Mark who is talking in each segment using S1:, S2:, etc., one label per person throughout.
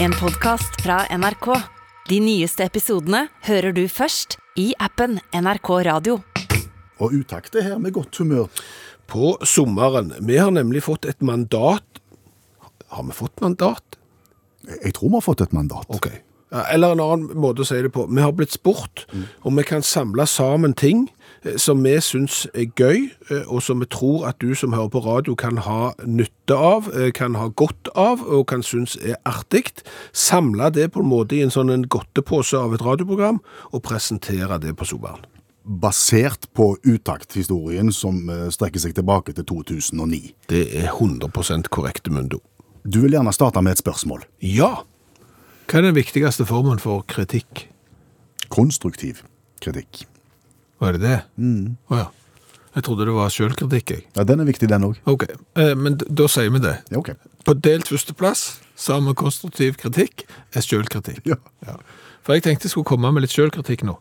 S1: En podcast fra NRK. De nyeste episodene hører du først i appen NRK Radio.
S2: Og utakt er her med godt humør.
S3: på sommeren. Vi har nemlig fått et mandat. Har vi fått mandat?
S2: Jeg jeg tror vi har fått et mandat.
S3: Ok. Ja, Eller en annen måte å si det på. Vi har blitt spurt, og vi kan samle sammen ting eh, som vi syns er gøy, eh, og som vi tror at du som hører på radio kan ha nytte av, eh, kan ha godt av, og kan synes er artig. Samle det på en måte i en sånn en godtepose av et radioprogram, og presentere det på sommeren.
S2: Basert på utakthistorien som eh, strekker seg tilbake til 2009.
S3: Det er 100 korrekte, Mundo.
S2: Du vil gjerne starte med et spørsmål.
S3: Ja! Hva er den viktigste formen for kritikk?
S2: Konstruktiv kritikk.
S3: Var det det? Mm. ja. Jeg trodde det var sjølkritikk, jeg.
S2: Ja, Den er viktig, den òg.
S3: Ok, eh, men d- da sier vi det.
S2: Ja, ok.
S3: På delt førsteplass, sammen konstruktiv kritikk, er sjølkritikk.
S2: Ja.
S3: For jeg tenkte jeg skulle komme med litt sjølkritikk nå.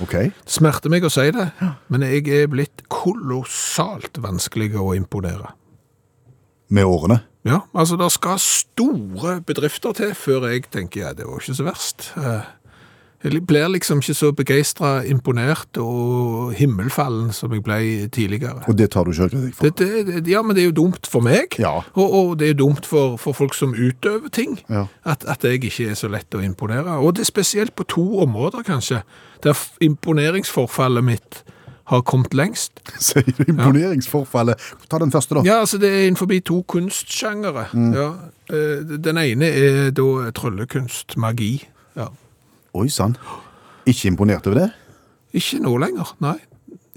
S2: Ok.
S3: Det smerter meg å si det, men jeg er blitt kolossalt vanskelig å imponere.
S2: Med årene.
S3: Ja, altså det skal store bedrifter til før jeg tenker ja, det var ikke så verst. Eh, Jeg blir liksom ikke så begeistra, imponert og himmelfallen som jeg ble tidligere.
S2: Og det tar du sjølkritikk for?
S3: Det, det, det- ja, men det er jo dumt for meg,
S2: Ja.
S3: og, og det er dumt for, for folk som utøver ting,
S2: Ja.
S3: at, at jeg ikke er så lett å imponere. Og det er spesielt på to områder, kanskje, der f- imponeringsforfallet mitt har kommet lengst.
S2: Sier du imponeringsforfallet? Ta den første, da.
S3: Ja, altså det er innenfor to kunstsjangere. Ja. Eh, Den ene er da tryllekunst, magi. Ja.
S2: Oi sann. Ikke imponert over det?
S3: Ikke nå lenger, nei.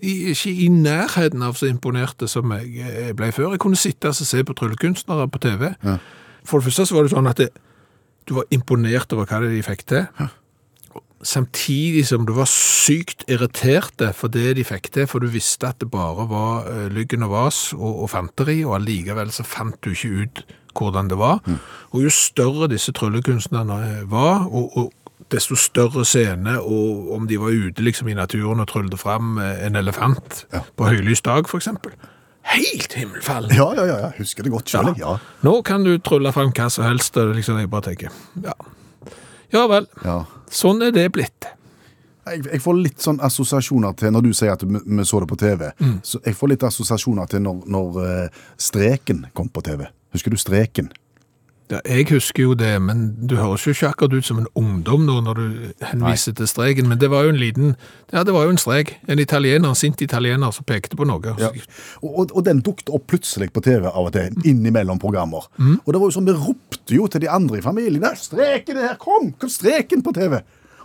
S3: I, ikke i nærheten av så imponerte som jeg eh, ble før. Jeg kunne sitte og se på tryllekunstnere på TV. For det første så var det sånn at det, du var imponert over hva det de fikk til. Samtidig som du var sykt irriterte for det de fikk til, for du visste at det bare var eh, lyggen og vas og, og fanteri, og allikevel så fant du ikke ut hvordan det var. Og jo større disse tryllekunstnerne eh, var, og, og desto større scene, og om de var ute liksom i naturen og tryllte frem eh, en elefant på høylys dag, for eksempel. Helt himmelfallen!
S2: Ja, ja, ja. ja. Husker det godt sjøl, jeg. Ja.
S3: Nå kan du trylle frem hva som helst, og det liksom jeg bare tenker, ja. Ja vel,
S2: ja.
S3: sånn er det blitt.
S2: Jeg, jeg får litt sånn assosiasjoner til, når du sier at vi, vi så det på TV, så jeg får litt assosiasjoner til når, når eh, Streken kom på TV. Husker du Streken?
S3: Ja, jeg husker jo det, men du høres jo ikke akkurat ut som en ungdom nå når du henviser til streken, men det var jo en liten, ja det var jo en strek, en italiener, en sint italiener som pekte på noe.
S2: Og, og, og den dukket opp plutselig på TV av og til, innimellom programmer. Og det var jo sånn, vi ropte jo til de andre i familien, der, streken er her, kom, kom streken på TV!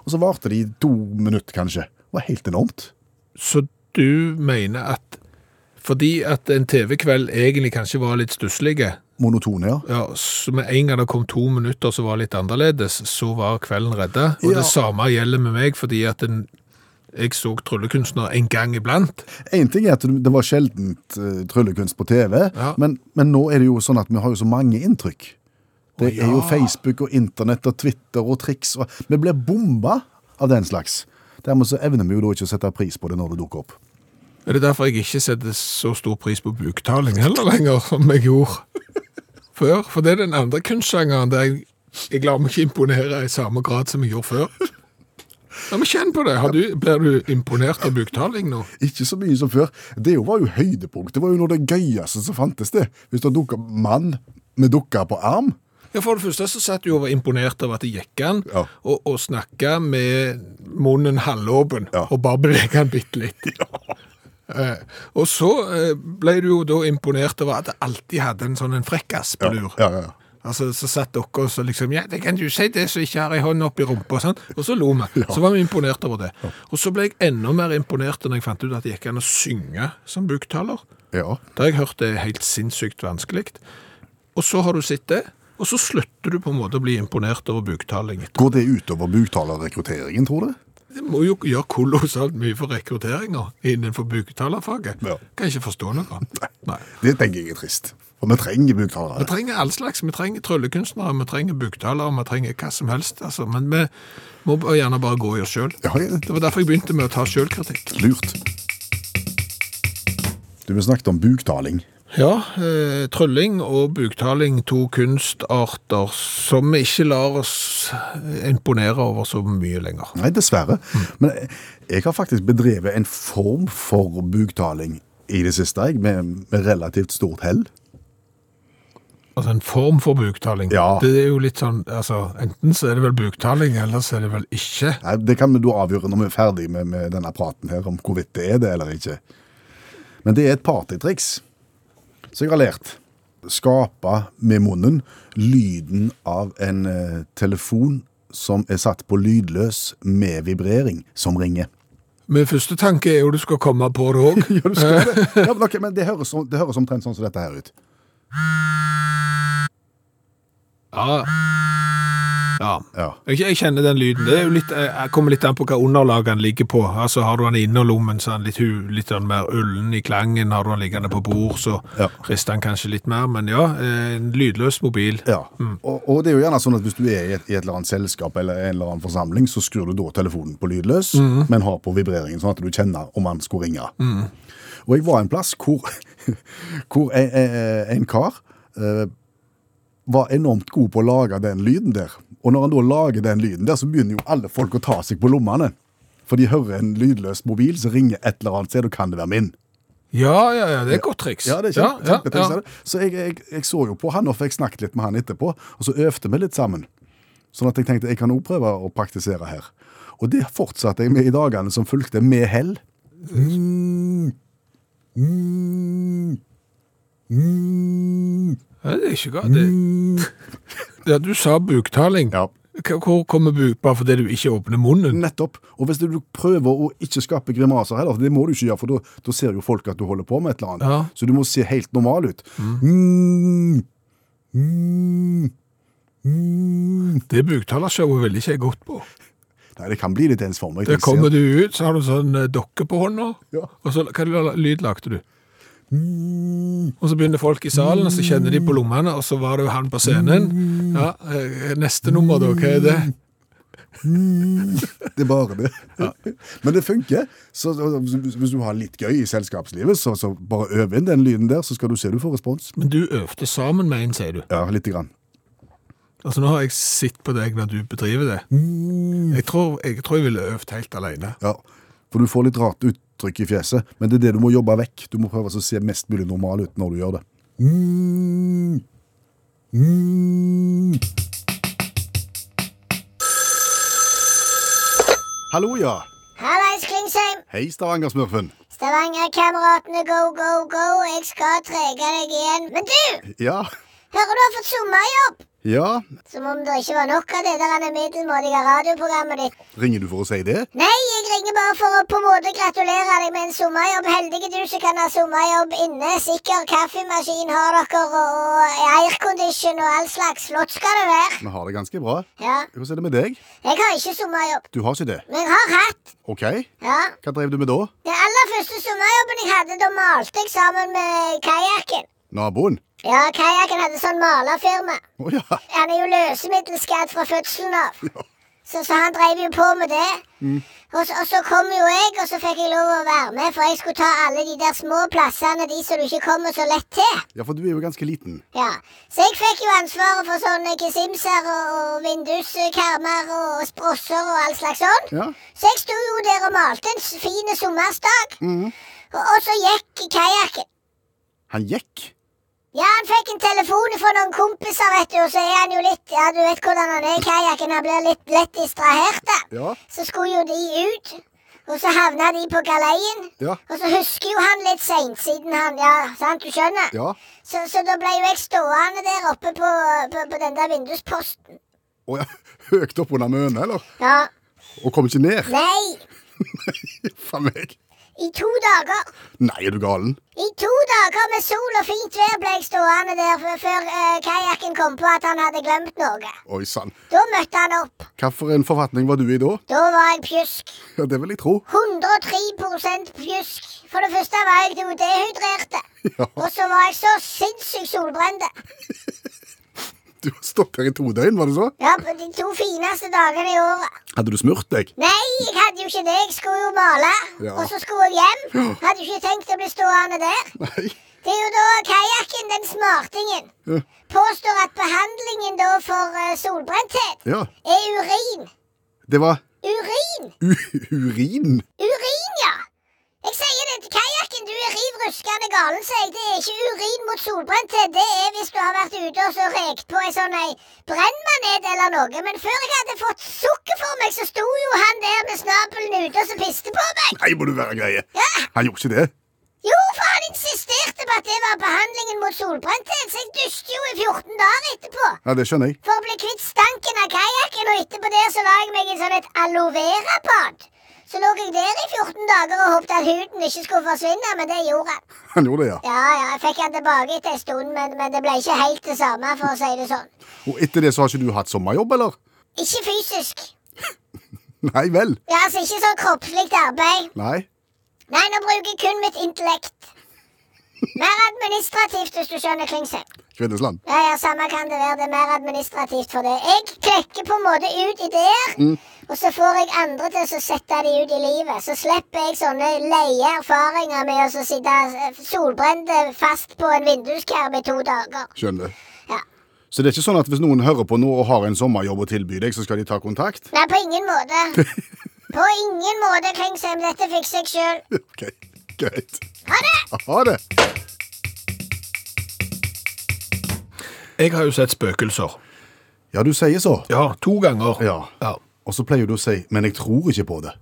S2: Og så varte det i to minutter, kanskje. Det var helt enormt.
S3: Så du mener at, fordi at en TV-kveld egentlig kanskje var litt stusslige,
S2: Monotone, ja.
S3: ja, så med en gang det kom to minutter som var litt annerledes, så var kvelden redda, og
S2: Ja.
S3: det samme gjelder med meg, fordi at en, jeg så tryllekunstner en gang iblant,
S2: En ting er at det var sjeldent eh, tryllekunst på TV,
S3: Ja.
S2: men, men nå er det jo sånn at vi har jo så mange inntrykk. Det
S3: Å, ja.
S2: er jo Facebook og internett og Twitter og triks. Og, vi blir bomba av den slags. Dermed så evner vi jo da ikke å sette pris på det når det dukker opp.
S3: Er det derfor jeg ikke setter så stor pris på buktaling heller lenger, som jeg gjorde før? For det er den andre kunstsjangeren der jeg, jeg lar meg ikke imponere i samme grad som jeg gjorde før. Ja, men kjenn på det. Har du, blir du imponert av buktaling nå?
S2: Ikke så mye som før. Det jo var jo høydepunkt. Det var jo noe av det gøyeste som fantes det. Hvis det dukket opp mann med dukker på arm.
S3: Ja, For det første så satt du og var imponert av at det gikk an
S2: Ja.
S3: å å snakke med munnen halvåpen
S2: Ja.
S3: og bare bevege den bitte litt. Eh, og så eh, ble du jo da imponert over at det alltid hadde en sånn en frekkas på lur.
S2: Ja, ja, ja.
S3: Altså, så satt dere og så liksom Ja, det kan du si, det som ikke har ei hånd oppi rumpa. sant? Og så lo vi. Så var vi imponert over det. Og så ble jeg enda mer imponert når jeg fant ut at det gikk an å synge som buktaler.
S2: ja.
S3: Det har jeg hørt er helt sinnssykt vanskelig. Og så har du sett det, og så slutter du på en måte å bli imponert over buktaling.
S2: Går det utover buktalerrekrutteringen, tror du?
S3: Det må jo gjøre kolossalt mye for rekrutteringer innenfor buktalerfaget.
S2: Ja.
S3: Kan ikke forstå noe. Nei.
S2: Det tenker jeg er trist. For vi trenger buktalere.
S3: Vi trenger all slags. Vi trenger tryllekunstnere, vi trenger buktalere, vi trenger hva som helst. Altså. Men vi må bare- gjerne bare gå i oss sjøl.
S2: Ja, ja.
S3: Det var derfor jeg begynte med å ta sjølkritikk.
S2: Lurt. Du, vi snakket om buktaling.
S3: Ja, eh, trylling og buktaling, to kunstarter som vi ikke lar oss eh, imponere over så mye lenger.
S2: Nei, dessverre. Men jeg har faktisk bedrevet en form for buktaling i det siste, jeg, med, med relativt stort hell.
S3: Altså en form for buktaling.
S2: Ja.
S3: Det er jo litt sånn, altså enten så er det vel buktaling, eller så er det vel ikke.
S2: Nei, Det kan vi da avgjøre når vi er ferdig med, med denne praten her, om hvorvidt det er det eller ikke. Men det er et partytriks som jeg har lært. Skape med munnen lyden av en eh, telefon som er satt på lydløs med vibrering, som ringer.
S3: Min første tanke er jo du skal komme på det òg.
S2: Ja, du skal det. Ja, men, ok, men det, høres, sånn- det høres omtrent sånn som dette her ut.
S3: Ja. ja.
S2: Ja.
S3: Jeg, jeg kjenner den lyden. Det er jo litt, eh, jeg kommer litt an på hva underlaget han ligger på. Altså Har du han i innerlommen, så er han litt, hu- litt sånn mer ullen i klangen. Har du han liggende på bord, så
S2: Ja.
S3: rister han kanskje litt mer. Men ja, eh, en lydløs mobil.
S2: Ja, og, og det er jo gjerne sånn at hvis du er i et, i et eller annet selskap eller en eller annen forsamling, så skrur du da telefonen på lydløs, men har på vibreringen, sånn at du kjenner om han skulle ringe. Og jeg var en plass hvor, hvor en, en, en kar eh, var enormt god på å lage den lyden der. Og når han da lager den lyden der, så begynner jo alle folk å ta seg på lommene. For de hører en lydløs mobil, så ringer et eller annet sted, og kan det være min.
S3: Ja, ja, ja, det er et godt triks.
S2: Ja, det er kjempe,
S3: Ja, ja,
S2: kjempetriks,
S3: ja.
S2: er det. Så jeg, jeg, jeg så jo på han, og fikk snakket litt med han etterpå, og så øvde vi litt sammen. Sånn at jeg tenkte jeg kan også prøve å praktisere her. Og det fortsatte jeg med i dagene som fulgte, med hell.
S3: Ja, det er ikke galt. Det... Ja, du sa buktaling.
S2: Mm. Ja.
S3: Hva- Hvor kommer buk bare fordi du ikke åpner munnen?
S2: Nettopp. Og hvis du prøver å ikke skape grimaser heller, for det må du ikke gjøre, for da- da ser jo folk at du holder på med et eller annet.
S3: Ja.
S2: Så du må se helt normal ut. Mm. Mm. Mm.
S3: Det buktalershowet vil ikke jeg godt på.
S2: Nei, det kan bli litt ensformig.
S3: Der kommer du ut, så har du sånn eh, dokke på hånda,
S2: Ja.
S3: og så hva la- lyd lagde du? Og så begynner folk i salen, og så kjenner de på lommene, og så var det jo han på scenen. Ja, eh, neste nummer da, hva er det?
S2: Det er bare det. Men det funker. Så, så hvis- hvis du har litt gøy i selskapslivet, så, så bare øv inn den lyden der, så skal du se du får respons.
S3: Men du øvde sammen med en, sier du.
S2: Ja, lite grann.
S3: Altså nå har jeg sett på deg når du bedriver det. Jeg tror jeg, tror jeg ville øvd helt alene.
S2: Ja. For du får litt rart uttrykk i fjeset, men det er det du må jobbe vekk. Du må prøve å se mest mulig normal ut når du gjør det. Hallo, ja.
S4: Hallais, Klingsheim!
S2: Hei, Stavanger-smurfen.
S4: Stavanger-kameratene go, go, go. Jeg skal trege deg igjen. Men du!
S2: Ja.
S4: Hører du har fått sommerjobb?
S2: Ja.
S4: Som om det ikke var nok av det der ene middelmådige radioprogrammet ditt.
S2: Ringer du for å si det?
S4: Nei, jeg ringer bare for å på en måte gratulere deg med en sommerjobb. Heldige du som kan ha sommerjobb inne. Sikker kaffemaskin har dere, og aircondition og all slags. Flott skal det være.
S2: Vi har det ganske bra.
S4: Ja.
S2: Hvordan er det med deg?
S4: Jeg har ikke sommerjobb,
S2: Du har ikke det?
S4: men jeg har hatt.
S2: OK.
S4: Ja.
S2: Hva drev du med da?
S4: Den aller første sommerjobben jeg hadde, da malte jeg sammen med kajakken.
S2: Naboen?
S4: Ja, kajakken hadde sånn malerfirma.
S2: Å ja.
S4: Han er jo løsemiddelskadd fra fødselen av. Så, så han drev jo på med det. Og, så, og så kom jo jeg, og så fikk jeg lov å være med, for jeg skulle ta alle de der små plassene, de som du ikke kommer så lett til.
S2: Ja, for du er jo ganske liten.
S4: Ja, Så jeg fikk jo ansvaret for sånne kesimser og, og vinduskarmer og sprosser og all slags sånn.
S2: Ja.
S4: Så jeg sto jo der og malte en s- fin sommersdag, og, og så gikk kajakken.
S2: Han gikk.
S4: Ja, han fikk en telefon fra noen kompiser, vet du, og så er han jo litt Ja, du vet hvordan han er i kajakken, han blir litt lett distrahert. da.
S2: Ja.
S4: Så skulle jo de ut, og så havna de på galeien.
S2: Ja.
S4: Og så husker jo han litt seint, siden han Ja, sant, du skjønner?
S2: Ja.
S4: Så, så da ble jo jeg stående der oppe på, på, på den der vindusposten.
S2: Å ja. Høyt opp under mønet, eller?
S4: Ja.
S2: Og kom ikke ned?
S4: Nei!
S2: Fra meg?
S4: I to dager.
S2: Nei, er du galen?
S4: I to dager med sol og fint vær ble jeg stående der f- før uh, kajakken kom på at han hadde glemt noe.
S2: Oi sann.
S4: Da møtte han opp.
S2: Hvilken forfatning var du i da?
S4: Da var jeg pjusk.
S2: Ja, Det vil jeg tro.
S4: 103 pjusk. For det første var jeg jo dehydrerte.
S2: Ja.
S4: Og så var jeg så sinnssykt solbrente.
S2: Du har stått her i to døgn, var det så?
S4: Ja, på de to fineste dagene i året.
S2: Hadde du smurt deg?
S4: Nei, jeg hadde jo ikke det. Jeg skulle jo male.
S2: Ja.
S4: Og så skulle jeg hjem. Hadde jo ikke tenkt å bli stående der.
S2: Nei.
S4: Det er jo da kajakken, den smartingen,
S2: Ja.
S4: påstår at behandlingen da for eh, solbrenthet
S2: Ja.
S4: er urin.
S2: Det var
S4: Urin!
S2: u urin.
S4: Urin, ja! Jeg sier det, kajakken, du er riv ruskende galen, sier jeg. Det er ikke urin mot solbrenthet. Det er hvis du har vært ute og så rekt på ei sånn ei brennmanet eller noe. Men før jeg hadde fått sukker for meg, så sto jo han der med snabelen ute og så piste på meg.
S2: Nei, må du være greie.
S4: Ja.
S2: Han gjorde ikke det.
S4: Jo, for han insisterte på at det var behandlingen mot solbrenthet, så jeg dusjte jo i 14 dager etterpå.
S2: Ja, Det skjønner jeg.
S4: For å bli kvitt stanken av kajakken, og etterpå der så la jeg meg i sånn et aloe vera-bad. Så lå jeg der i 14 dager og håpte at huden ikke skulle forsvinne, men det gjorde han.
S2: Han gjorde det, ja.
S4: Ja, ja, jeg fikk han tilbake etter en stund, men, men det ble ikke helt det samme, for å si det sånn.
S2: Og etter det så har ikke du hatt sommerjobb, eller?
S4: Ikke fysisk.
S2: Nei vel.
S4: Ja, altså ikke sånn kroppslikt arbeid.
S2: Nei.
S4: Nei, nå bruker jeg kun mitt intellekt. Mer administrativt, hvis du skjønner, Klingsheim.
S2: Kvinnesland.
S4: Ja, ja, samme kan det være. Det er mer administrativt for det. Jeg klekker på en måte ut ideer, og så får jeg andre til å så sette de ut i livet. Så slipper jeg sånne leie erfaringer med å så sitte eh, solbrente fast på en vinduskarm i to dager.
S2: Skjønner.
S4: Ja.
S2: Så det er ikke sånn at hvis noen hører på nå og har en sommerjobb å tilby deg, så skal de ta kontakt?
S4: Nei, på ingen måte. På ingen måte, Klingsheim. Dette fikser jeg sjøl.
S2: Ok, greit.
S4: Ha det!
S2: Ha det.
S3: Jeg har jo sett spøkelser.
S2: Ja, du sier så.
S3: Ja, to ganger.
S2: Ja. Og så pleier du å si 'men jeg tror ikke på det'.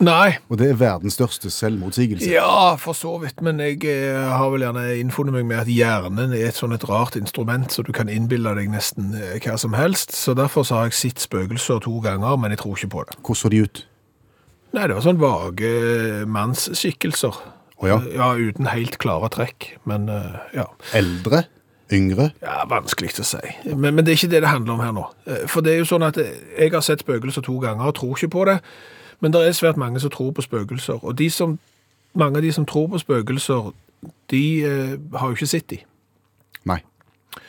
S3: Nei.
S2: Og det er verdens største selvmotsigelse.
S3: Ja, for så vidt, men jeg eh, har vel gjerne innfunnet meg med at hjernen er et sånn et rart instrument, så du kan innbille deg nesten eh, hva som helst. Så derfor så har jeg sett spøkelser to ganger, men jeg tror ikke på det.
S2: Hvordan så de ut?
S3: Nei, det var sånn vage eh, mannsskikkelser.
S2: Å ja.
S3: Eh, Ja, uten helt klare trekk, men eh, ja.
S2: Eldre? Yngre?
S3: Ja, vanskelig å si. Men, men det er ikke det det handler om her nå. Eh, For det er jo sånn at eh, jeg har sett spøkelser to ganger og tror ikke på det. Men det er svært mange som tror på spøkelser. Og de som, mange av de som tror på spøkelser, de eh, har jo ikke sett de.
S2: Nei. De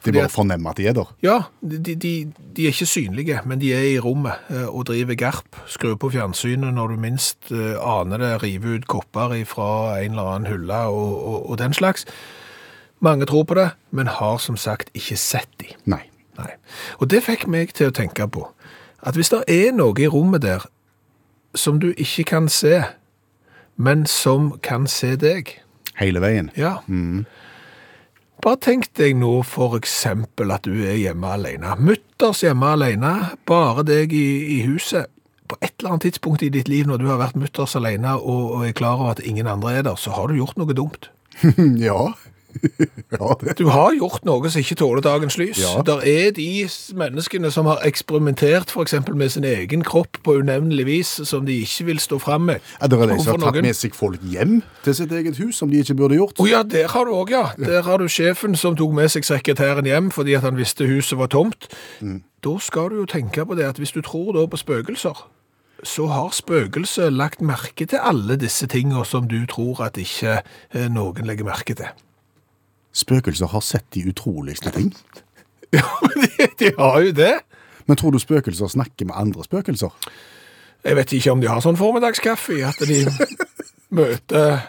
S3: Fordi
S2: bare
S3: at-
S2: fornemmer at de er der.
S3: Ja, de, de, de er ikke synlige, men de er i rommet eh, og driver garp. Skrur på fjernsynet når du minst eh, aner det, river ut kopper fra en eller annen hylle og, og, og den slags. Mange tror på det, men har som sagt ikke sett de.
S2: Nei.
S3: Nei. Og det fikk meg til å tenke på at hvis det er noe i rommet der som du ikke kan se, men som kan se deg
S2: Hele veien.
S3: Ja. Bare tenk deg nå for eksempel at du er hjemme alene. Mutters hjemme alene, bare deg i, i huset. På et eller annet tidspunkt i ditt liv når du har vært mutters alene og, og er klar over at ingen andre er der, så har du gjort noe dumt.
S2: Ja. ja, det.
S3: Du har gjort noe som ikke tåler dagens lys.
S2: Ja.
S3: Der er de menneskene som har eksperimentert for eksempel med sin egen kropp på unevnelig vis, som de ikke vil stå fram med.
S2: Ja, det er de som har
S3: overfor
S2: tatt
S3: noen.
S2: med seg folk hjem til sitt eget hus, som de ikke burde gjort.
S3: Å ja, der har du òg, ja. Der har du sjefen som tok med seg sekretæren hjem fordi at han visste huset var tomt.
S2: Mm.
S3: Da skal du jo tenke på det at hvis du tror da på spøkelser, så har spøkelset lagt merke til alle disse tinga som du tror at ikke eh, noen legger merke til.
S2: Spøkelser har sett de utroligste ting.
S3: Ja, men de, de har jo det.
S2: Men tror du spøkelser snakker med andre spøkelser?
S3: Jeg vet ikke om de har sånn formiddagskaffe, at de møter,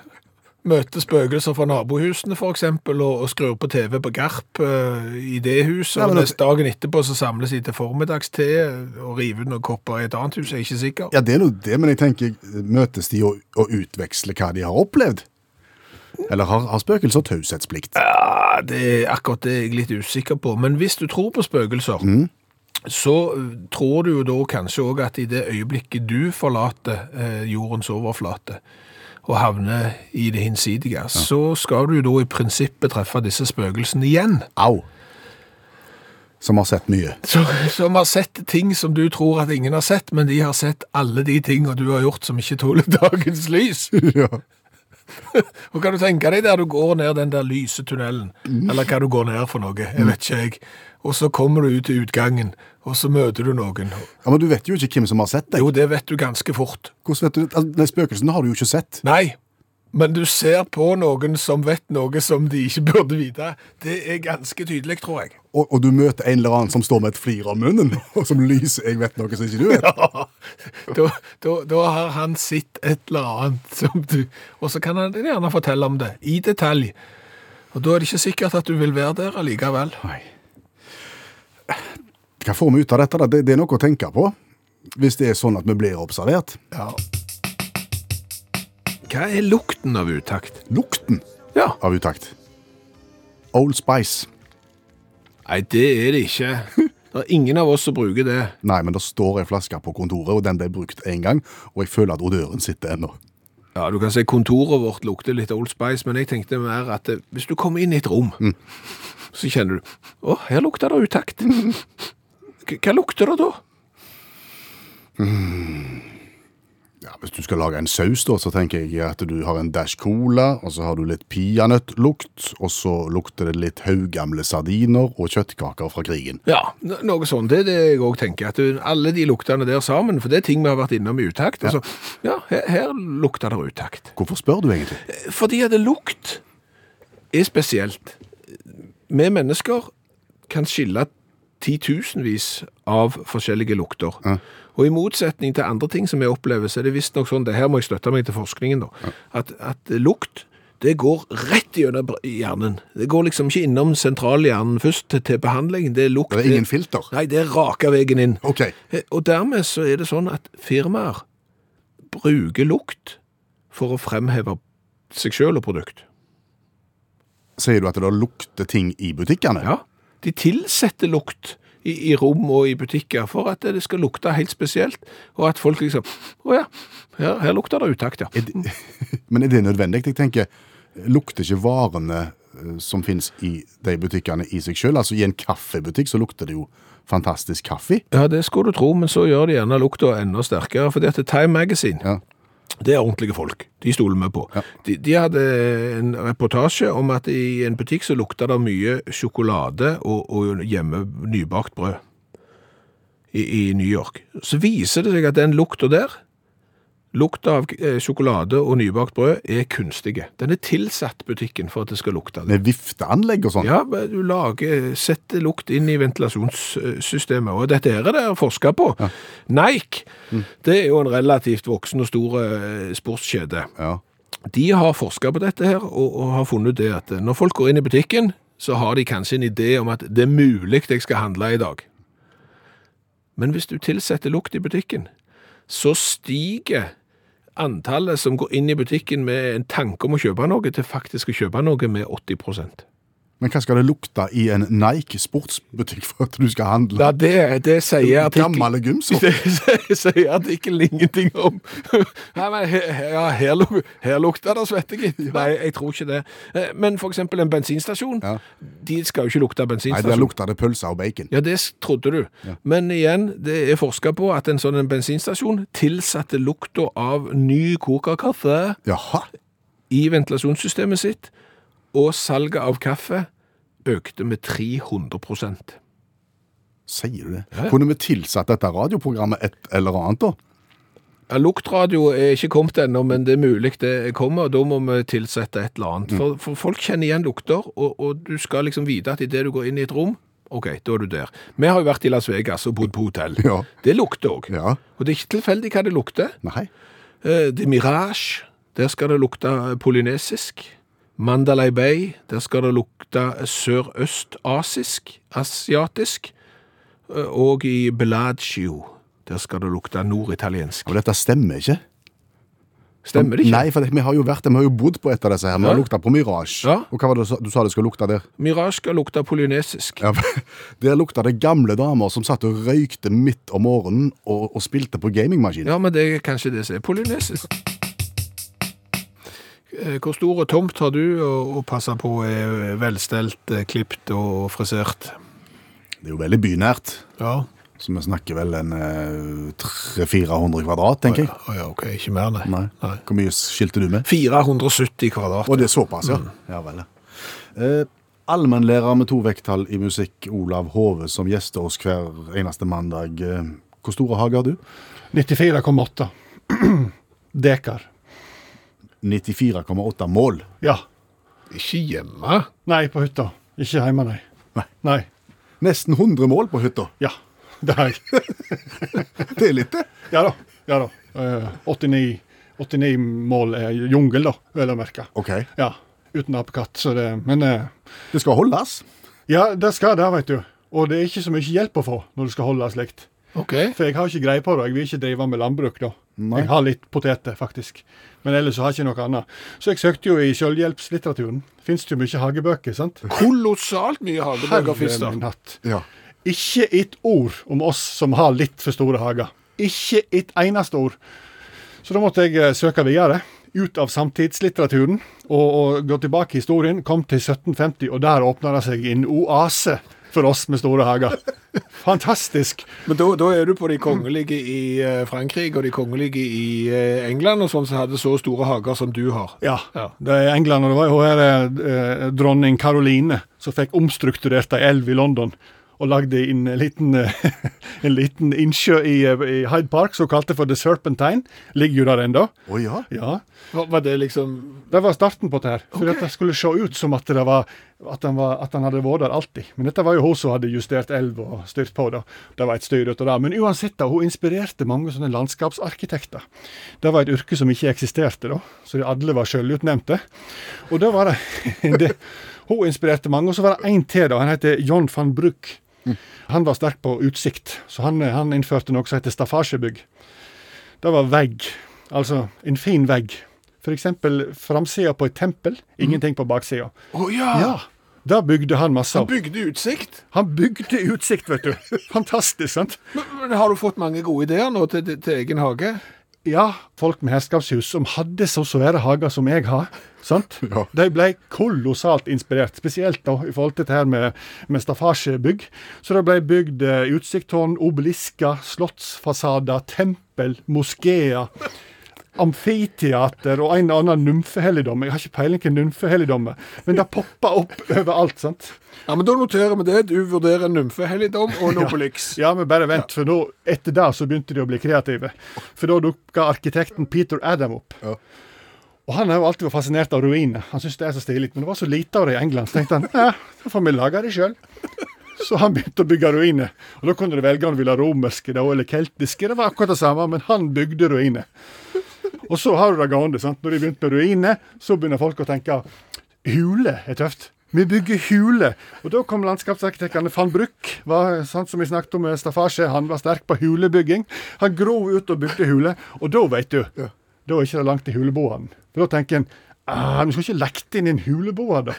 S3: møter spøkelser fra nabohusene for eksempel, og, og skrur på TV på Garp eh, i det huset,
S2: Nei, men
S3: og
S2: det-
S3: neste dagen etterpå så samles de til formiddagste og river ut noen kopper i et annet hus, jeg er ikke sikker.
S2: Ja, det er nå det, men jeg tenker, møtes de og, og utveksler hva de har opplevd? Eller har, har spøkelser taushetsplikt?
S3: Ja, det er akkurat det jeg er litt usikker på, men hvis du tror på spøkelser, så eh, tror du jo da kanskje også at i det øyeblikket du forlater eh, jordens overflate, og havner i det hinsidige, så skal du jo da i prinsippet treffe disse spøkelsene igjen,
S2: Au! Som har sett mye.
S3: så, som har sett ting som du tror at ingen har sett, men de har sett alle de tingene du har gjort som ikke tåler dagens lys.
S2: ja.
S3: Og kan du tenke deg der du går ned den der lyse tunnelen, eller hva du går ned for noe, jeg vet ikke jeg, og så kommer du ut til utgangen, og så møter du noen.
S2: ja, Men du vet jo ikke hvem som har sett deg.
S3: Jo, det vet du ganske fort.
S2: Hvordan vet du det? Altså, nei, spøkelsene har du jo ikke sett.
S3: Nei, men du ser på noen som vet noe som de ikke burde vite. Det er ganske tydelig, tror jeg.
S2: Og, og du møter en eller annen som står med et flir av munnen, og som lyser 'jeg vet noe som ikke du vet'.
S3: Da, da, da har han sett et eller annet som du Og så kan han gjerne fortelle om det, i detalj. Og da er det ikke sikkert at du vil være der allikevel.
S2: Nei. Hva får vi ut av dette? da? Det, det er noe å tenke på. Hvis det er sånn at vi blir observert.
S3: Ja. Hva er lukten av utakt?
S2: Lukten
S3: Ja.
S2: av utakt. Old Spice.
S3: Nei, det er det ikke. Det er ingen av oss som bruker det.
S2: Nei, men det står ei flaske på kontoret, og den ble brukt én gang. Og jeg føler at odøren sitter ennå.
S3: Ja, du kan si kontoret vårt lukter litt Old Spice, men jeg tenkte mer at eh, hvis du kommer inn i et rom, så kjenner du, å, her lukter det utakt. K- Hva lukter det da?
S2: Ja, hvis du skal lage en saus, da, så tenker jeg at du har en dash cola, og så har du litt peanøttlukt, og så lukter det litt haugamle sardiner og kjøttkaker fra krigen.
S3: Ja, n- noe sånt. Det er det jeg òg tenker. At du- alle de luktene der sammen, for det er ting vi har vært innom i utakt. Ja, altså, ja her, her lukter det utakt.
S2: Hvorfor spør du egentlig?
S3: Fordi at lukt er spesielt. Vi mennesker kan skille titusenvis av forskjellige lukter. Og i motsetning til andre ting som vi opplever, så er det visstnok sånn, det her må jeg støtte meg til forskningen da, at, at lukt, det går rett gjennom br- hjernen. Det går liksom ikke innom sentralhjernen først til, til behandling. Det er lukt.
S2: Det er ingen filter.
S3: Nei, det er raka veien inn.
S2: OK.
S3: Eh, Og dermed så er det sånn at firmaer bruker lukt for å fremheve seg selv og produkt.
S2: Sier du at det lukter ting i butikkene?
S3: Ja, de tilsetter lukt i, i rom og i butikker for at det skal lukte helt spesielt, og at folk liksom, å ja, her, her lukter det utakt, ja.
S2: Men er det nødvendig? Jeg tenker, lukter ikke varene eh, som finnes i de butikkene i seg selv? Altså i en kaffebutikk så lukter det jo fantastisk kaffe.
S3: Ja, det skulle du tro, men så gjør de gjerne lukta enda sterkere, fordi at Time Magazine,
S2: Ja.
S3: det er ordentlige folk. De stoler vi på. De, de hadde en reportasje om at i en butikk så lukta det mye sjokolade og, og hjemme nybakt brød i, i New York. Så viser det seg at den lukta der, lukta av eh, sjokolade og nybakt brød, er kunstige. Den er tilsatt butikken for at det skal lukte det.
S2: Med vifteanlegg og sånn.
S3: Ja, men du lager, setter lukt inn i ventilasjonssystemet, og dette her er det forsket på. Nike, det er jo en relativt voksen og stor eh, sportskjede.
S2: Ja.
S3: De har forsket på dette her, og, og har funnet det at eh, når folk går inn i butikken, så har de kanskje en idé om at det er mulig jeg skal handle i dag. Men hvis du tilsetter lukt i butikken, så stiger antallet som går inn i butikken med en tanke om å kjøpe noe, til faktisk å kjøpe noe med 80 prosent.
S2: Men hva skal det lukte i en Nike sportsbutikk for at du skal handle?
S3: Ja, det, det sier artikkelen
S2: Gammel gymsopp?
S3: det sier- sier artikkelen ingenting om. Nei, men he- he- ja, her, luk, her lukter det svette, gitt. Nei, jeg tror ikke det. Eh, Men for eksempel en bensinstasjon,
S2: Ja.
S3: de skal jo ikke lukte
S2: Nei, der
S3: bensinstasjon.
S2: lukter det pølse og bacon.
S3: Ja, det s- trodde du. Men igjen, det er forsket på at en sånn en bensinstasjon tilsatte lukta av ny kokakaffe
S2: Jaha,
S3: i ventilasjonssystemet sitt, og salget av kaffe økte med 300 prosent.
S2: sier du det?
S3: Ja, ja.
S2: Kunne vi tilsatt dette radioprogrammet et eller annet da?
S3: Ja, Luktradio er ikke kommet ennå, men det er mulig det kommer, og da må vi tilsette et eller
S2: Mm.
S3: annet. For, for folk kjenner igjen lukter, og, og du skal liksom vite at idet du går inn i et rom, ok, da er du der. Vi har jo vært i Las Vegas og bodd på hotell.
S2: Ja.
S3: Det lukter òg.
S2: Ja.
S3: Og det er ikke tilfeldig hva det lukter.
S2: Nei.
S3: Eh, Det er Mirage, der skal det lukte polynesisk. Mandalay Bay, der skal det lukte sørøstasisk, asiatisk. Eh, Og i Bellagio, der skal det lukte norditaliensk.
S2: Ja, Men dette stemmer ikke.
S3: Stemmer det ikke?
S2: Nei, for det- vi har jo vært der, vi har jo bodd på et av disse her. Vi har
S3: Ja.
S2: lukta på Mirage.
S3: Ja.
S2: Og hva var det du sa- du sa det skulle lukte der?
S3: Mirage skal lukte polynesisk.
S2: Ja, der lukta det gamle damer som satt og røykte midt om morgenen og, og spilte på gamingmaskin.
S3: Ja, men det er kanskje det som er polynesisk. Eh, Hvor stor tomt har du å å passe på er velstelt, eh, klipt og frisert?
S2: Det er jo veldig bynært,
S3: Ja.
S2: så vi snakker vel en eh, 300-400 kvadrat, tenker jeg.
S3: Å ja, ok, ikke mer, nei.
S2: Nei. Hvor mye skilte du med?
S3: 470 kvadrat.
S2: Og det er såpass, ja. Ja vel. ja. Eh, Allmennlærer med to vekttall i musikk, Olav Hove, som gjester oss hver eneste mandag. Eh, Hvor store hage har du?
S5: 94,8 dekar.
S2: 94,8 mål.
S5: Ja.
S3: Ikke hjemme?
S5: Nei, på hytta. Ikke hjemme, nei.
S2: Nei.
S5: Nei.
S2: Nesten 100 mål på hytta.
S5: Ja. Det har jeg.
S2: Det er litt, det.
S5: Ja da. Ja da. Eh, 89, 89 mål er jungel, da, vel å merke.
S2: OK.
S5: Ja. uten apekatt, så det Men eh,
S2: Det skal holdes.
S5: ja, det skal det, veit du. Og det er ikke så mye hjelp å få når du skal holde slikt.
S3: OK.
S5: For jeg har ikke greie på det. Jeg vil ikke drive med landbruk da. Jeg har litt poteter, faktisk. Men ellers så har jeg ikke noe annet. Så jeg søkte jo i selvhjelpslitteraturen. Fins det jo mye hagebøker, sant?
S3: Kolossalt mye hagebøker fins
S5: Herre
S3: der.
S5: min hatt.
S2: Ja.
S5: Ikke et ord om oss som har litt for store hager. Ikke et eneste ord. Så da måtte jeg eh, søke videre. Ut av samtidslitteraturen og, og gå tilbake i historien. Kom til 1750, og der åpna det seg en oase for oss med store hager. Fantastisk.
S3: Men da, da er du på de kongelige i eh, Frankrike og de kongelige i eh, England og sånn som hadde så store hager som du har.
S5: Ja,
S3: Ja.
S5: det er England, og det var jo her eh, dronning Caroline som fikk omstrukturert ei elv i London. Og lagde en liten, eh, en liten innsjø i, eh, i Hyde Park som hun kalte for The Serpentine. Ligger jo der ennå.
S2: Å ja.
S5: Ja.
S3: Var, var det liksom
S5: Det var starten på dette. her. For at det skulle se ut som at, det var, at, han var, at han hadde vært der alltid. Men dette var jo hun som hadde justert elv og styrt på. da. Det var et styr ut av det. Men uansett, da, hun inspirerte mange sånne landskapsarkitekter. Det var et yrke som ikke eksisterte da, så de alle var sjølutnevnte. Og da var det, det Hun inspirerte mange. Og så var det én til, da. Han heter John van Bruck. Han var sterk på utsikt, så han, han innførte noe som heter staffasjebygg. Det var vegg. Altså en fin vegg. F.eks. framsida på et tempel, ingenting på baksida.
S3: Å ja!
S5: Ja, Det bygde Ah. han masse
S3: Han
S5: av.
S3: bygde utsikt.
S5: Han bygde utsikt, vet du. Fantastisk, sant?
S3: Men, men har du fått mange gode ideer nå til, til, til egen hage?
S5: Ja, folk med herskapshus som hadde så svære hager som jeg har, sant? de ble kolossalt inspirert. Spesielt da, i forhold til det her med, med staffasjebygg. Så det ble bygd eh, utsiktstårn, obelisker, slottsfasader, tempel, moskeer. Amfiteater og en og annen nymfehelligdom. Jeg har ikke peiling på nymfehelligdom er, men det popper opp overalt. sant?
S3: Ja, men Da noterer vi det. Du vurderer en nymfehelligdom og en obelix.
S5: Ja, men bare vent, for nå, etter det så begynte de å bli kreative. For da dukka arkitekten Peter Adam opp. Og han har jo alltid vært fascinert av ruiner. Han syns det er så stilig. Men det var så lite av det i England, så tenkte han ja, da får vi lage det sjøl. Så han begynte å bygge ruiner. Og da kunne du velge om du ville ha romerske da, eller keltiske. Det var akkurat det samme, men han bygde ruiner. Og så har du det gående. sant? Når de begynte med ruiner, så begynner folk å tenke hule er tøft. Vi bygger hule. Og da kom landskapsarkitektene van Bruck, var, sant, som vi snakket om med staffasje. Han var sterk på hulebygging. Han grov ut og bygde hule. Og da, veit du, da er ikke det langt til huleboeren. For da tenker en ah, vi skulle ikke lagt inn en huleboer, da.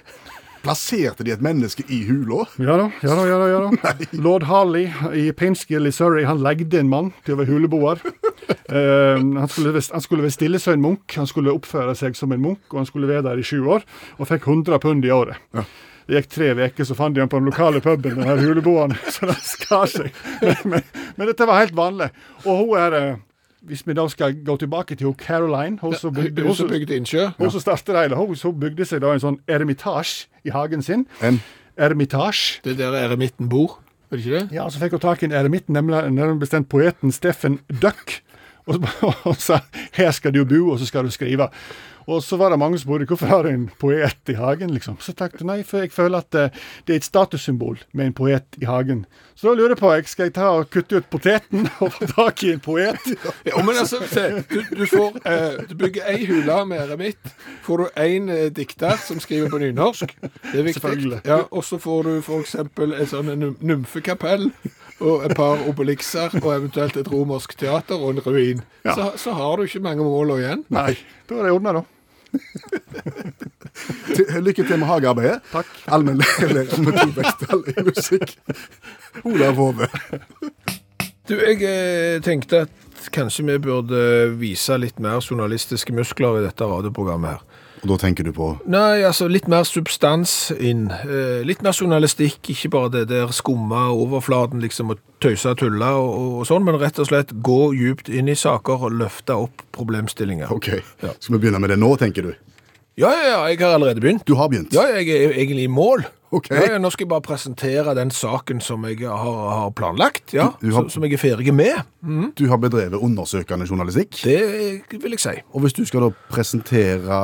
S2: Plasserte de et menneske i hula?
S5: Ja da, ja da, ja da. Ja da. Lord Harley i Pinskill i Surrey han legde en mann til å være huleboer. Eh, han skulle være- han skulle være stille som en munk, han skulle oppføre seg som en munk, og han skulle være der i sju år, og fikk 100 pund i året. Det gikk tre uker, så fant de han på den lokale puben, den her huleboeren, så det skar seg. Men, men, men dette var helt vanlig. Og hun er eh, Hvis vi da skal gå tilbake til hun Caroline hun som bygde, hun,
S3: Huset
S5: som-
S3: bygde innsjø.
S5: hun som startet det hele, hun, hun bygde seg da en sånn eremitasje i hagen sin.
S2: En
S5: Eremitasje.
S3: Det er der eremitten bor, er det ikke det?
S5: Ja, så fikk hun tak i en eremitt, nemlig nærmere bestemt poeten Steffen Duck. Og, så- og sa 'her skal du bo, og så skal du skrive'. Og så var det mange som spurte 'hvorfor har du en poet i hagen', liksom. Så tenkte jeg nei, for jeg føler at eh, det er et statussymbol med en poet i hagen. Så da lurer jeg på, jeg skal jeg ta og kutte ut poteten og få tak i en poet?
S3: Ja, men altså, se, du, du, får, eh, du bygger ei hule med eremitt, får du én eh, dikter som skriver på nynorsk, det er viktig,
S5: Selvfølgelig.
S3: ja, og så får du f.eks. et sånn num- nymfekapell og et par obelixer og eventuelt et romersk teater og en ruin. Så, så har du ikke mange mål igjen.
S5: Nei. Da er det ordna, da.
S2: Til- Lykke til med hagearbeidet. Takk. Allmennlærer med to vekttall i musikk. Olav Hove.
S3: Du, jeg eh, tenkte at kanskje vi burde vise litt mer journalistiske muskler i dette radioprogrammet her.
S2: Og da tenker du på
S3: Nei, altså litt mer substans inn. Eh, litt mer journalistikk, ikke bare det der skumma overflaten liksom og tøyse og tulle og, og, sånn, men rett og slett gå djupt inn i saker og løfte opp problemstillinger.
S2: OK.
S3: Ja.
S2: Skal vi begynne med det nå, tenker du?
S3: Ja, ja, ja, jeg har allerede begynt.
S2: Du har begynt?
S3: Ja, jeg er jo egentlig i mål.
S2: Ok.
S3: Ja, ja, nå skal jeg bare presentere den saken som jeg har, har planlagt, ja,
S2: Du- du har-
S3: som, som jeg er ferdig med.
S2: Du har bedrevet undersøkende journalistikk.
S3: Det vil jeg si.
S2: Og hvis du skal da presentere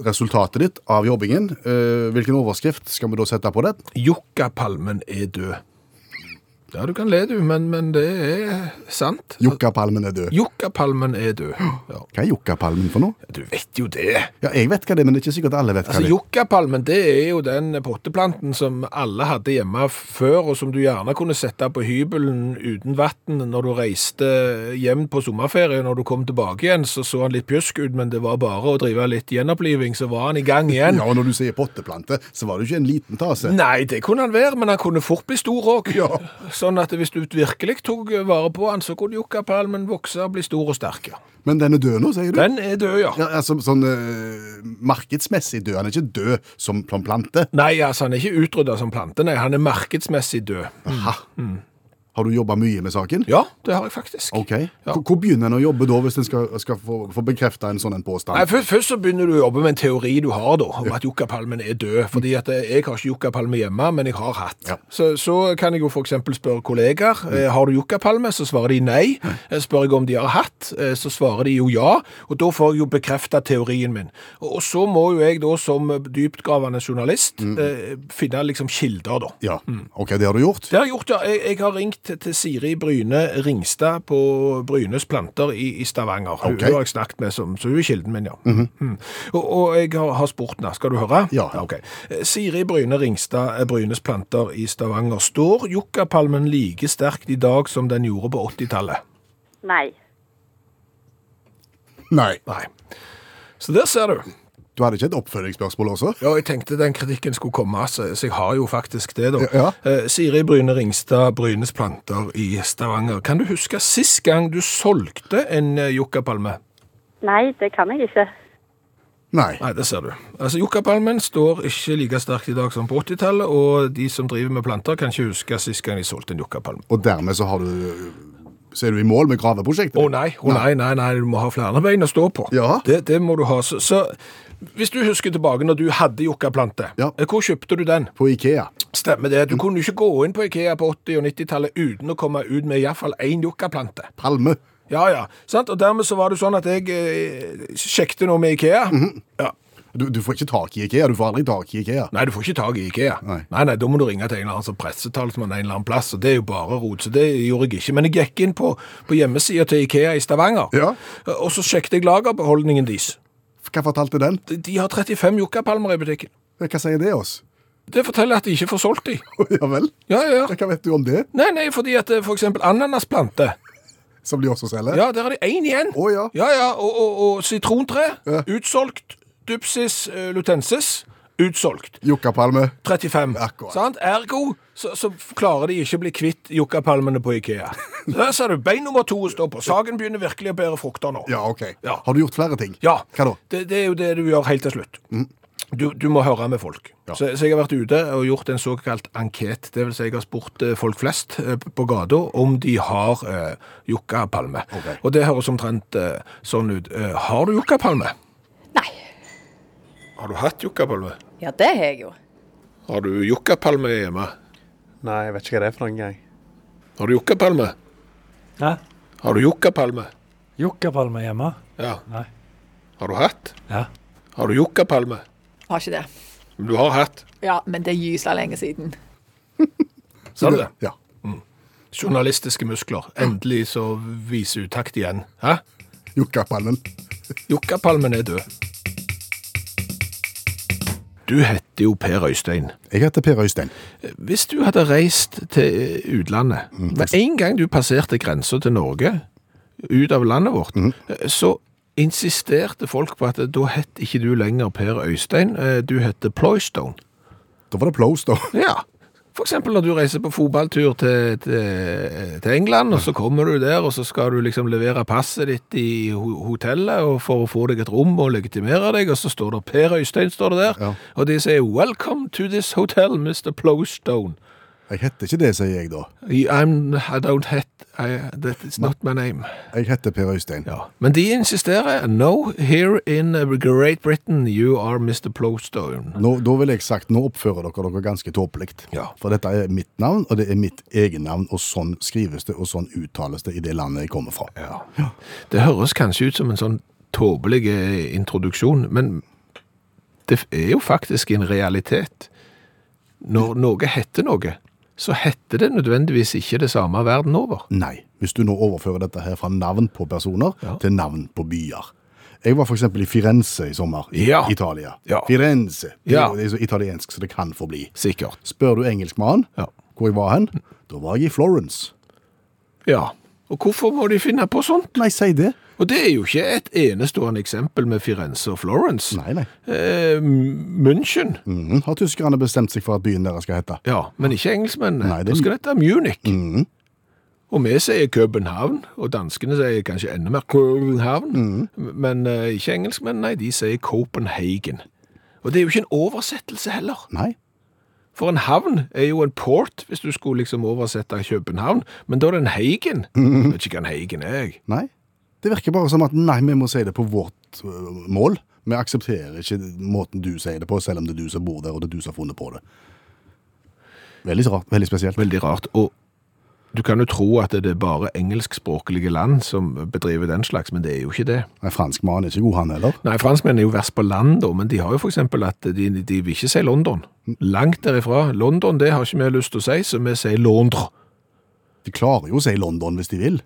S2: resultatet ditt av jobbingen, eh, hvilken overskrift skal vi da sette på det?
S3: Jokkapalmen er død. Ja, du kan le, du, men, men det er sant.
S2: Jokkapalmen er død.
S3: Jokkapalmen er død. Ja.
S2: Hva er jokkapalmen for noe?
S3: Du vet jo det.
S2: Ja, jeg vet hva det er, men det er ikke sikkert alle vet hva
S3: Altså,
S2: det er.
S3: Jokkapalmen det er jo den potteplanten som alle hadde hjemme f- før, og som du gjerne kunne sette på hybelen uten vann når du reiste hjem på sommerferie. Når du kom tilbake igjen, så så han litt pjusk ut, men det var bare å drive litt gjenoppliving, så var han i gang igjen.
S2: Ja, og når du sier potteplante, så var det jo ikke en liten tase.
S3: Nei, det kunne han være, men han kunne fort bli stor òg.
S2: Ja.
S3: Sånn at hvis du virkelig tok vare på han, så kunne jokkapalmen vokse og bli stor og sterk. ja.
S2: Men den er død nå, sier du?
S3: Den er død, ja.
S2: Ja, altså, sånn eh, markedsmessig død. Han er ikke død som som plante.
S3: Nei, altså han er ikke utrydda som plante, nei. Han er markedsmessig død.
S2: Aha. Har du jobba mye med saken?
S3: Mm. Ja, det har jeg faktisk.
S2: Ok. Hvor- Hvor begynner en å jobbe da, hvis en skal, skal få, få bekrefta en sånn en påstand?
S3: Nei, først, først så begynner du å jobbe med en teori du har da, om at jokkapalmen er død. Fordi at eh, jeg har ikke jokkapalme hjemme, men jeg har hatt.
S2: Ja.
S3: Så, så kan jeg jo for eksempel spørre kollegaer, eh, har du jokkapalme? Så svarer de nei. Eh, Spør jeg om de har hatt, eh, så svarer de jo ja. Og da får jeg jo bekreftet teorien min. Og, og så må jo jeg da som dyptgravende journalist eh, finne liksom kilder da.
S2: Ja, ok, det har du gjort?
S3: Det har jeg gjort, ja. Jeg, jeg har ringt til Siri Bryne Ringstad på Brynes planter i, i Stavanger. Hun,
S2: Ok. Mhm.
S3: hun har jeg snakket med, som, så hun er kilden min, ja. Mm. Og, og jeg har, har spurt henne. Skal du høre?
S2: Ja.
S3: ok. Eh, Siri Bryne Ringstad, eh, Brynes planter i Stavanger. Står jokkapalmen like sterkt i dag som den gjorde på 80-tallet?
S6: Nei.
S2: Nei.
S3: Nei. Så der ser du.
S2: Du hadde ikke et oppfølgingsspørsmål også?
S3: Ja, jeg tenkte den kritikken skulle komme, altså. så, så jeg har jo faktisk det, da.
S2: Ja.
S3: Eh, Siri Bryne Ringstad, Brynes planter i Stavanger. Kan du huske sist gang du solgte en eh, jokkapalme?
S6: Nei, det kan jeg ikke.
S2: Nei.
S3: Nei, det ser du. Altså, Jokkapalmen står ikke like sterkt i dag som på 80-tallet, og de som driver med planter, kan ikke huske sist gang de solgte en jokkapalme.
S2: Og dermed så har du Så er du i mål med graveprosjektet?
S3: Å nei, å nei, nei, nei, du må ha flere bein å stå på.
S2: Ja.
S3: Det, det må du ha. Så, så hvis du husker tilbake når du hadde jokkaplante,
S2: Ja.
S3: eh, hvor kjøpte du den?
S2: På Ikea.
S3: Stemmer det. Du kunne jo ikke gå inn på Ikea på 80- og 90-tallet uten å komme ut med iallfall én jokkaplante.
S2: Palme.
S3: Ja, ja. Sant? Og dermed så var det sånn at jeg eh, sjekket noe med Ikea.
S2: Mhm.
S3: ja.
S2: Du, du får ikke tak i Ikea. Du får aldri tak i Ikea.
S3: Nei, du får ikke tak i Ikea.
S2: Nei.
S3: nei, da må du ringe til en eller annen som pressetalsmann en eller annen plass, og det er jo bare rot, så det gjorde jeg ikke. Men jeg gikk inn på, på hjemmesida til Ikea i Stavanger,
S2: Ja.
S3: og så sjekket jeg lagerbeholdningen deres.
S2: Hva fortalte den?
S3: De, de har 35 jokkapalmer i butikken.
S2: Hva sier det oss?
S3: Det forteller at de ikke får solgt de.
S2: ja vel?
S3: Ja, ja.
S2: Hva vet du om det,
S3: Nei, nei, fordi at eh, for eksempel ananasplante
S2: som de også selger?
S3: Ja, der er det én igjen.
S2: Å, ja.
S3: ja, ja. Og, og, og sitrontre. Utsolgt. Dupsis eh, lutensis. Utsolgt.
S2: Jokkapalme.
S3: 35.
S2: Akkurat.
S3: Sant? Ergo så, så klarer de ikke å bli kvitt jokkapalmene på Ikea. Så Der ser du. Bein nummer to står på. Saken begynner virkelig å bære frukter nå.
S2: Ja, OK.
S3: Ja.
S2: Har du gjort flere ting?
S3: Ja.
S2: Hva da? Mm.
S3: Det, det er jo det du gjør helt til slutt. Du, du må høre med folk. Så, så jeg har vært ute og gjort en såkalt anket. Det vil si jeg har spurt eh, folk flest eh, på gata om de har eh, jokkapalme.
S2: Ok.
S3: Og det høres omtrent eh, sånn ut. Eh, har du jokkapalme?
S7: Nei.
S3: Har du hatt jokkapalme?
S7: Ja, det har jeg jo.
S3: Har du jokkapalme hjemme?
S8: Nei, jeg vet ikke hva det er for noen gang.
S3: Har du jokkapalme?
S9: Hæ?
S3: Har du jokkapalme?
S9: Jokkapalme hjemme?
S3: Ja.
S9: Nei.
S3: Har du hatt?
S9: Ja.
S3: Har du jokkapalme?
S7: Har ikke det.
S3: Du har hatt.
S7: Ja, men det er gysla lenge siden.
S3: Sa du det?
S2: Ja.
S3: Journalistiske muskler. Endelig så viser utakt igjen. Hæ?
S2: Jokkapalmen.
S3: Jokkapalmen er død. Du heter jo Per Øystein.
S2: Jeg heter Per Øystein.
S3: Hvis du hadde reist til utlandet, med en gang du passerte grensen til Norge, ut av landet vårt, så insisterte folk på at da het ikke du lenger Per Øystein, eh, du heter Ploystone.
S2: Da var det Plows, da.
S3: Ja. For eksempel når du reiser på fotballtur til, til, til England, og så kommer du der, og så skal du liksom levere passet ditt i ho- hotellet og for å få deg et rom og legitimere deg, og så står det Per Øystein står det der,
S2: Ja.
S3: og de sier 'Welcome to this hotel, Mr. Plowstone'.
S2: Jeg heter ikke det, sier jeg da.
S3: I'm, I don't het, I, that is not my name.
S2: Jeg heter Per Øystein.
S3: Ja. Men de insisterer 'No, here in uh, Great Britain you are Mr. Plowstone'.
S2: Nå, da vil jeg sagt, nå oppfører dere dere ganske tåpelig.
S3: Ja.
S2: For dette er mitt navn, og det er mitt egen navn, og sånn skrives det, og sånn uttales det i det landet jeg kommer fra.
S3: Det høres kanskje ut som en sånn tåpelig eh, introduksjon, men det f- er jo faktisk en realitet. Når noe heter noe, så heter det nødvendigvis ikke det samme verden over.
S2: Nei, hvis du nå overfører dette her fra navn på personer
S3: Ja.
S2: til navn på byer. Jeg var for eksempel i Firenze i sommer, i
S3: Ja.
S2: Italia.
S3: Ja.
S2: Firenze. Det er,
S3: Ja.
S2: jo- det er så italiensk så det kan forbli.
S3: Sikkert.
S2: Spør du engelskmannen
S3: Ja.
S2: hvor jeg var hen, da var jeg i Florence.
S3: Ja. Og hvorfor må de finne på sånt?
S2: Nei, si det.
S3: Og det er jo ikke et enestående eksempel med Firenze og Florence.
S2: Nei, nei.
S3: Eh, München.
S2: Mhm, Har tyskerne bestemt seg for at byen deres skal hete? Mhm.
S3: Ja, men ikke engelskmennene.
S2: Nei, det-
S3: Da skal dette Munich. Og vi sier København, og danskene sier kanskje enda mer København. Men eh, ikke engelskmennene, nei, de sier Copenhagen. Og det er jo ikke en oversettelse heller.
S2: Nei.
S3: For en havn er jo en port, hvis du skulle liksom oversette København. Men da er det en Hagen. Jeg vet ikke hva en Hagen er, jeg.
S2: Nei. Det virker bare som at nei, vi må si det på vårt øh, mål. Vi aksepterer ikke måten du sier det på, selv om det er du som bor der, og det er du som har funnet på det. Veldig rart. Veldig spesielt.
S3: Veldig rart. Og du kan jo tro at det er bare engelskspråklige land som bedriver den slags, men det er jo ikke det.
S2: Nei, fransk mann er ikke god, han heller.
S3: Nei, franskmenn er jo verst på land, da, men de har jo for eksempel at de, de vil ikke si London. Langt derifra. London, det har ikke vi lyst til å si, så vi sier Londres.
S2: De klarer jo å si London hvis de vil.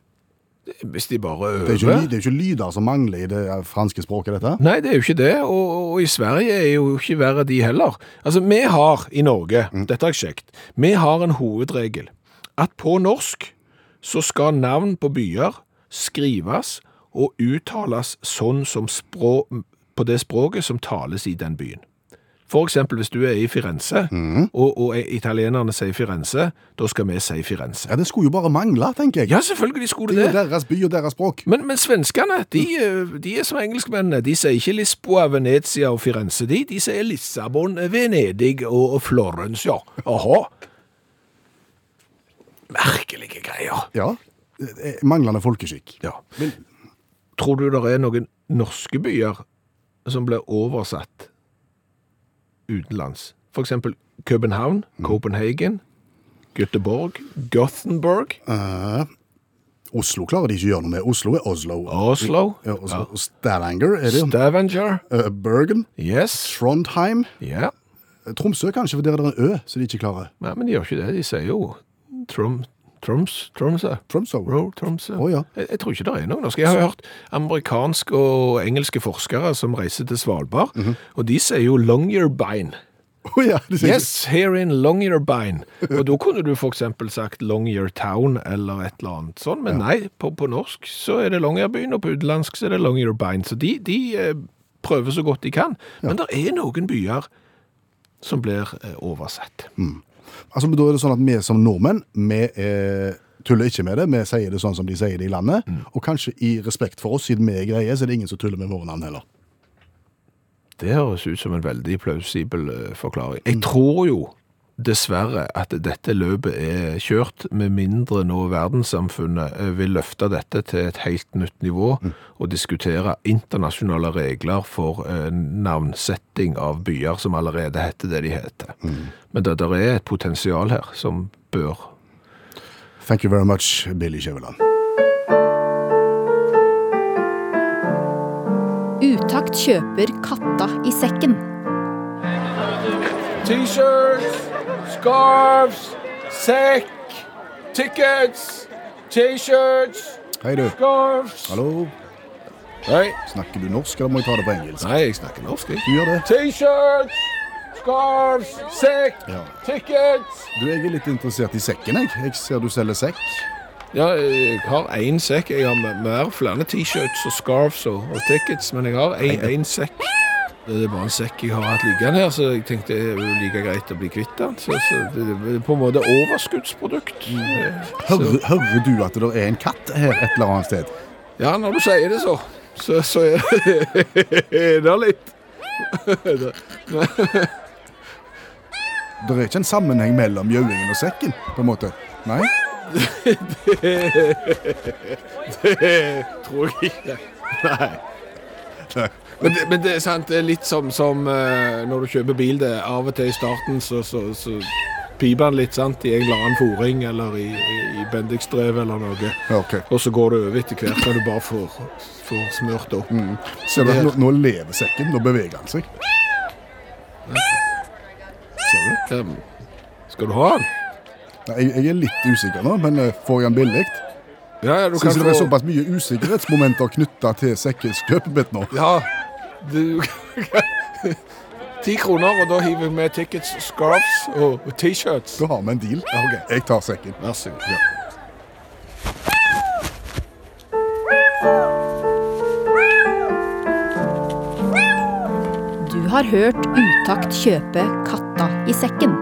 S3: Hvis de bare
S2: Det er jo ikke, ly-
S3: øver.
S2: det er jo ikke lyder som mangler i det eh, franske språket, dette.
S3: Nei, det er jo ikke det, og, og i Sverige er jo ikke verre de heller. Altså, vi har i Norge, dette har jeg sjekket, vi har en hovedregel at på norsk så skal navn på byer skrives og uttales sånn som språ, på det språket som tales i den byen. For eksempel hvis du er i Firenze, og, og italienerne sier Firenze, da skal vi si Firenze.
S2: Ja, Det skulle jo bare mangle, tenker jeg.
S3: Ja, selvfølgelig skulle
S2: Det er jo
S3: det
S2: deres by og deres språk.
S3: men, men svenskene, de, eh, de er som engelskmennene. De sier ikke Lisboa, Venezia og Firenze, de. De sier Lissabon, Venedig og og Florence, ja. Aha. Merkelige greier.
S2: Ja. Eh, Manglende folkeskikk.
S3: Ja. Tror du det er noen norske byer som blir oversatt utenlands? For eksempel København,
S2: Mm.
S3: Copenhagen, Göteborg, Gothenburg,
S2: Eh, Oslo klarer de ikke å gjøre noe med. Oslo er Oslo.
S3: Oslo,
S2: Ja, Oslo. Og Stavanger er det. jo.
S3: Stavanger,
S2: Eh, Bergen.
S3: yes,
S2: Trondheim.
S3: ja.
S2: Eh, Tromsø kanskje, for der er det en ø som de ikke klarer.
S3: Nei, men de gjør ikke det. De sier jo Trom, Troms, Tromsø.
S2: Tromsø.
S3: Ro, Tromsø.
S2: Å, ja.
S3: jeg, jeg tror ikke det er noen norske. Jeg har hørt amerikanske og engelske forskere som reiser til Svalbard, og de sier jo Longyearbyen.
S2: Å ja, Mhm. de sier
S3: Yes, here in Longyearbyen. Og da kunne du for eksempel sagt Longyeartown eller et eller annet sånn, men nei, på, på norsk så er det Longyearbyen, og på utenlandsk så er det Longyearbyen. Så de, de eh, prøver så godt de kan. Men det er noen byer som blir eh, oversett.
S2: ikke- Altså, men da er det sånn at vi som nordmenn, vi eh, tuller ikke med det. Vi sier det sånn som de sier det i landet.
S3: Mm.
S2: Og kanskje i respekt for oss, siden vi er greie, så er det ingen som tuller med våre navn heller.
S3: Det høres ut som en veldig plausibel eh, forklaring. Jeg tror jo dessverre at dette løpet er kjørt, med mindre nå verdenssamfunnet eh, vil løfte dette til et helt nytt nivå og diskutere internasjonale regler for eh, navnsetting av byer som allerede heter det de heter. Men det der er et potensial her som bør
S2: Thank you very much, Billy Kjøveland.
S10: Utakt kjøper katta i sekken.
S3: T-shirts, scarves, sekk, tickets, T-shirts,
S2: Hei, du.
S3: scarves
S2: Hallo?
S3: Hei.
S2: Snakker du norsk, eller må jeg ta det på engelsk?
S3: Nei, jeg snakker norsk, jeg.
S2: Du gjør det.
S3: T-shirts, scarves, sekk,
S2: Ja.
S3: tickets.
S2: Du, jeg er litt interessert i sekken, jeg. Jeg ser du selger sekk.
S3: Ja, jeg har én sekk. Jeg har m- mer flere T-shirts og scarves og, og tickets, men jeg har én- én sekk. Det er bare en sekk jeg har hatt liggende her, så jeg tenkte det er jo like greit å bli kvitt den. Så, så det er på en måte overskuddsprodukt.
S2: Hører, hører du at det er en katt her et eller annet sted?
S3: Ja, når du sier det, så. Så, så er det litt
S2: Det er ikke en sammenheng mellom gjøingen og sekken, på en måte. Nei?
S3: Tror jeg ikke. Nei. Men det, men det er sant, det er litt som, som eh, når du kjøper bil. det er Av og til i starten så, så, så piper den litt sant, i en eller annen fòring eller i, i, i Bendikstrev eller noe.
S2: Ok.
S3: Og så går det over etter hvert når du bare får, får smurt opp.
S2: Mm. Ser du at nå, nå lever sekken, nå beveger han seg. Ser du?
S3: Em, skal du ha den?
S2: Jeg, jeg er litt usikker nå, men eh, får jeg den billig?
S3: Ja, ja, du
S2: Syns
S3: kan
S2: det er
S3: få...
S2: såpass mye usikkerhetsmomenter knytta til sekkens kjøpebit nå.
S3: Ja, du... Ti kroner, og da hiver vi med tickets, scarves og og t-shirts.
S2: Da har vi en deal. Jeg tar sekken. Vær så god. Ja.
S10: Du har hørt Utakt kjøpe katta i sekken.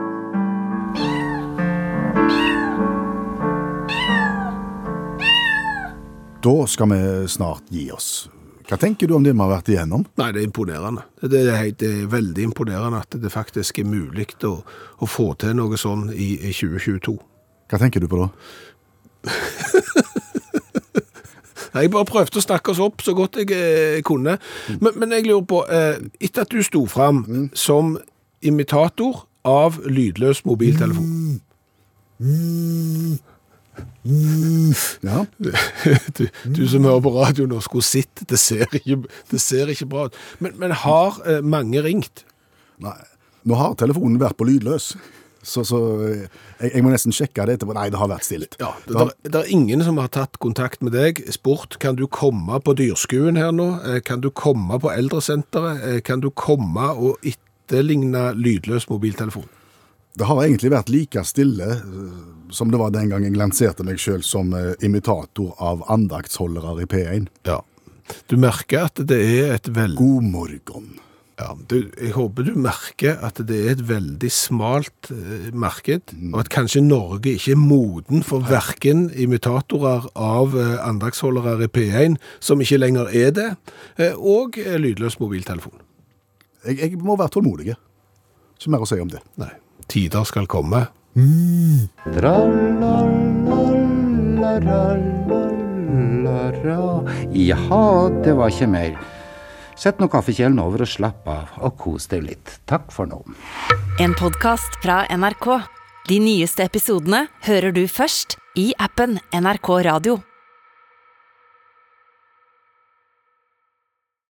S2: Da skal vi snart gi oss. Hva tenker du om det vi har vært igjennom?
S3: Nei, det er imponerende. Det er, helt- det er veldig imponerende at det faktisk er mulig å, å få til noe sånn i, i 2022.
S2: Hva tenker du på da?
S3: Nei, Jeg bare prøvde å snakke oss opp så godt jeg eh, kunne. Men, men jeg lurer på, eh, etter at du sto fram som imitator av lydløs mobiltelefon
S2: Ja.
S3: du, du som hører på radio nå, skulle sett. Det ser ikke, det ser ikke bra ut. Men, men har eh, mange ringt?
S2: Nei. Nå har telefonen vært på lydløs, så, så eh, jeg, jeg må nesten sjekke det etterpå. Nei, det har vært stilt.
S3: Ja,
S2: Det har-
S3: det er ingen som har tatt kontakt med deg. Spurt kan du komme på dyrskuen her nå? Eh, Kan du komme på eldresenteret? Eh, Kan du komme og etterligne lydløs mobiltelefon?
S2: Det har egentlig vært like stille eh, som det var den gang jeg lanserte meg sjøl som eh, imitator av andaktsholdere i P1.
S3: Ja. Du merker at det er et veldig
S2: God morgen.
S3: ja, du, Jeg håper du merker at det er et veldig smalt eh, marked, og at kanskje Norge ikke er moden for verken imitatorer av eh, andagsholdere i P1, som ikke lenger er det, eh, og eh, lydløs mobiltelefon.
S2: Jeg, jeg må være tålmodig. Ikke mer å si om det.
S3: Nei. Tider skal komme.
S11: Jaha, det var ikke mer. Sett nå kaffekjelen over og slapp av, og kos deg litt. Takk for nå.
S1: En podkast fra NRK. De nyeste episodene hører du først i appen NRK Radio.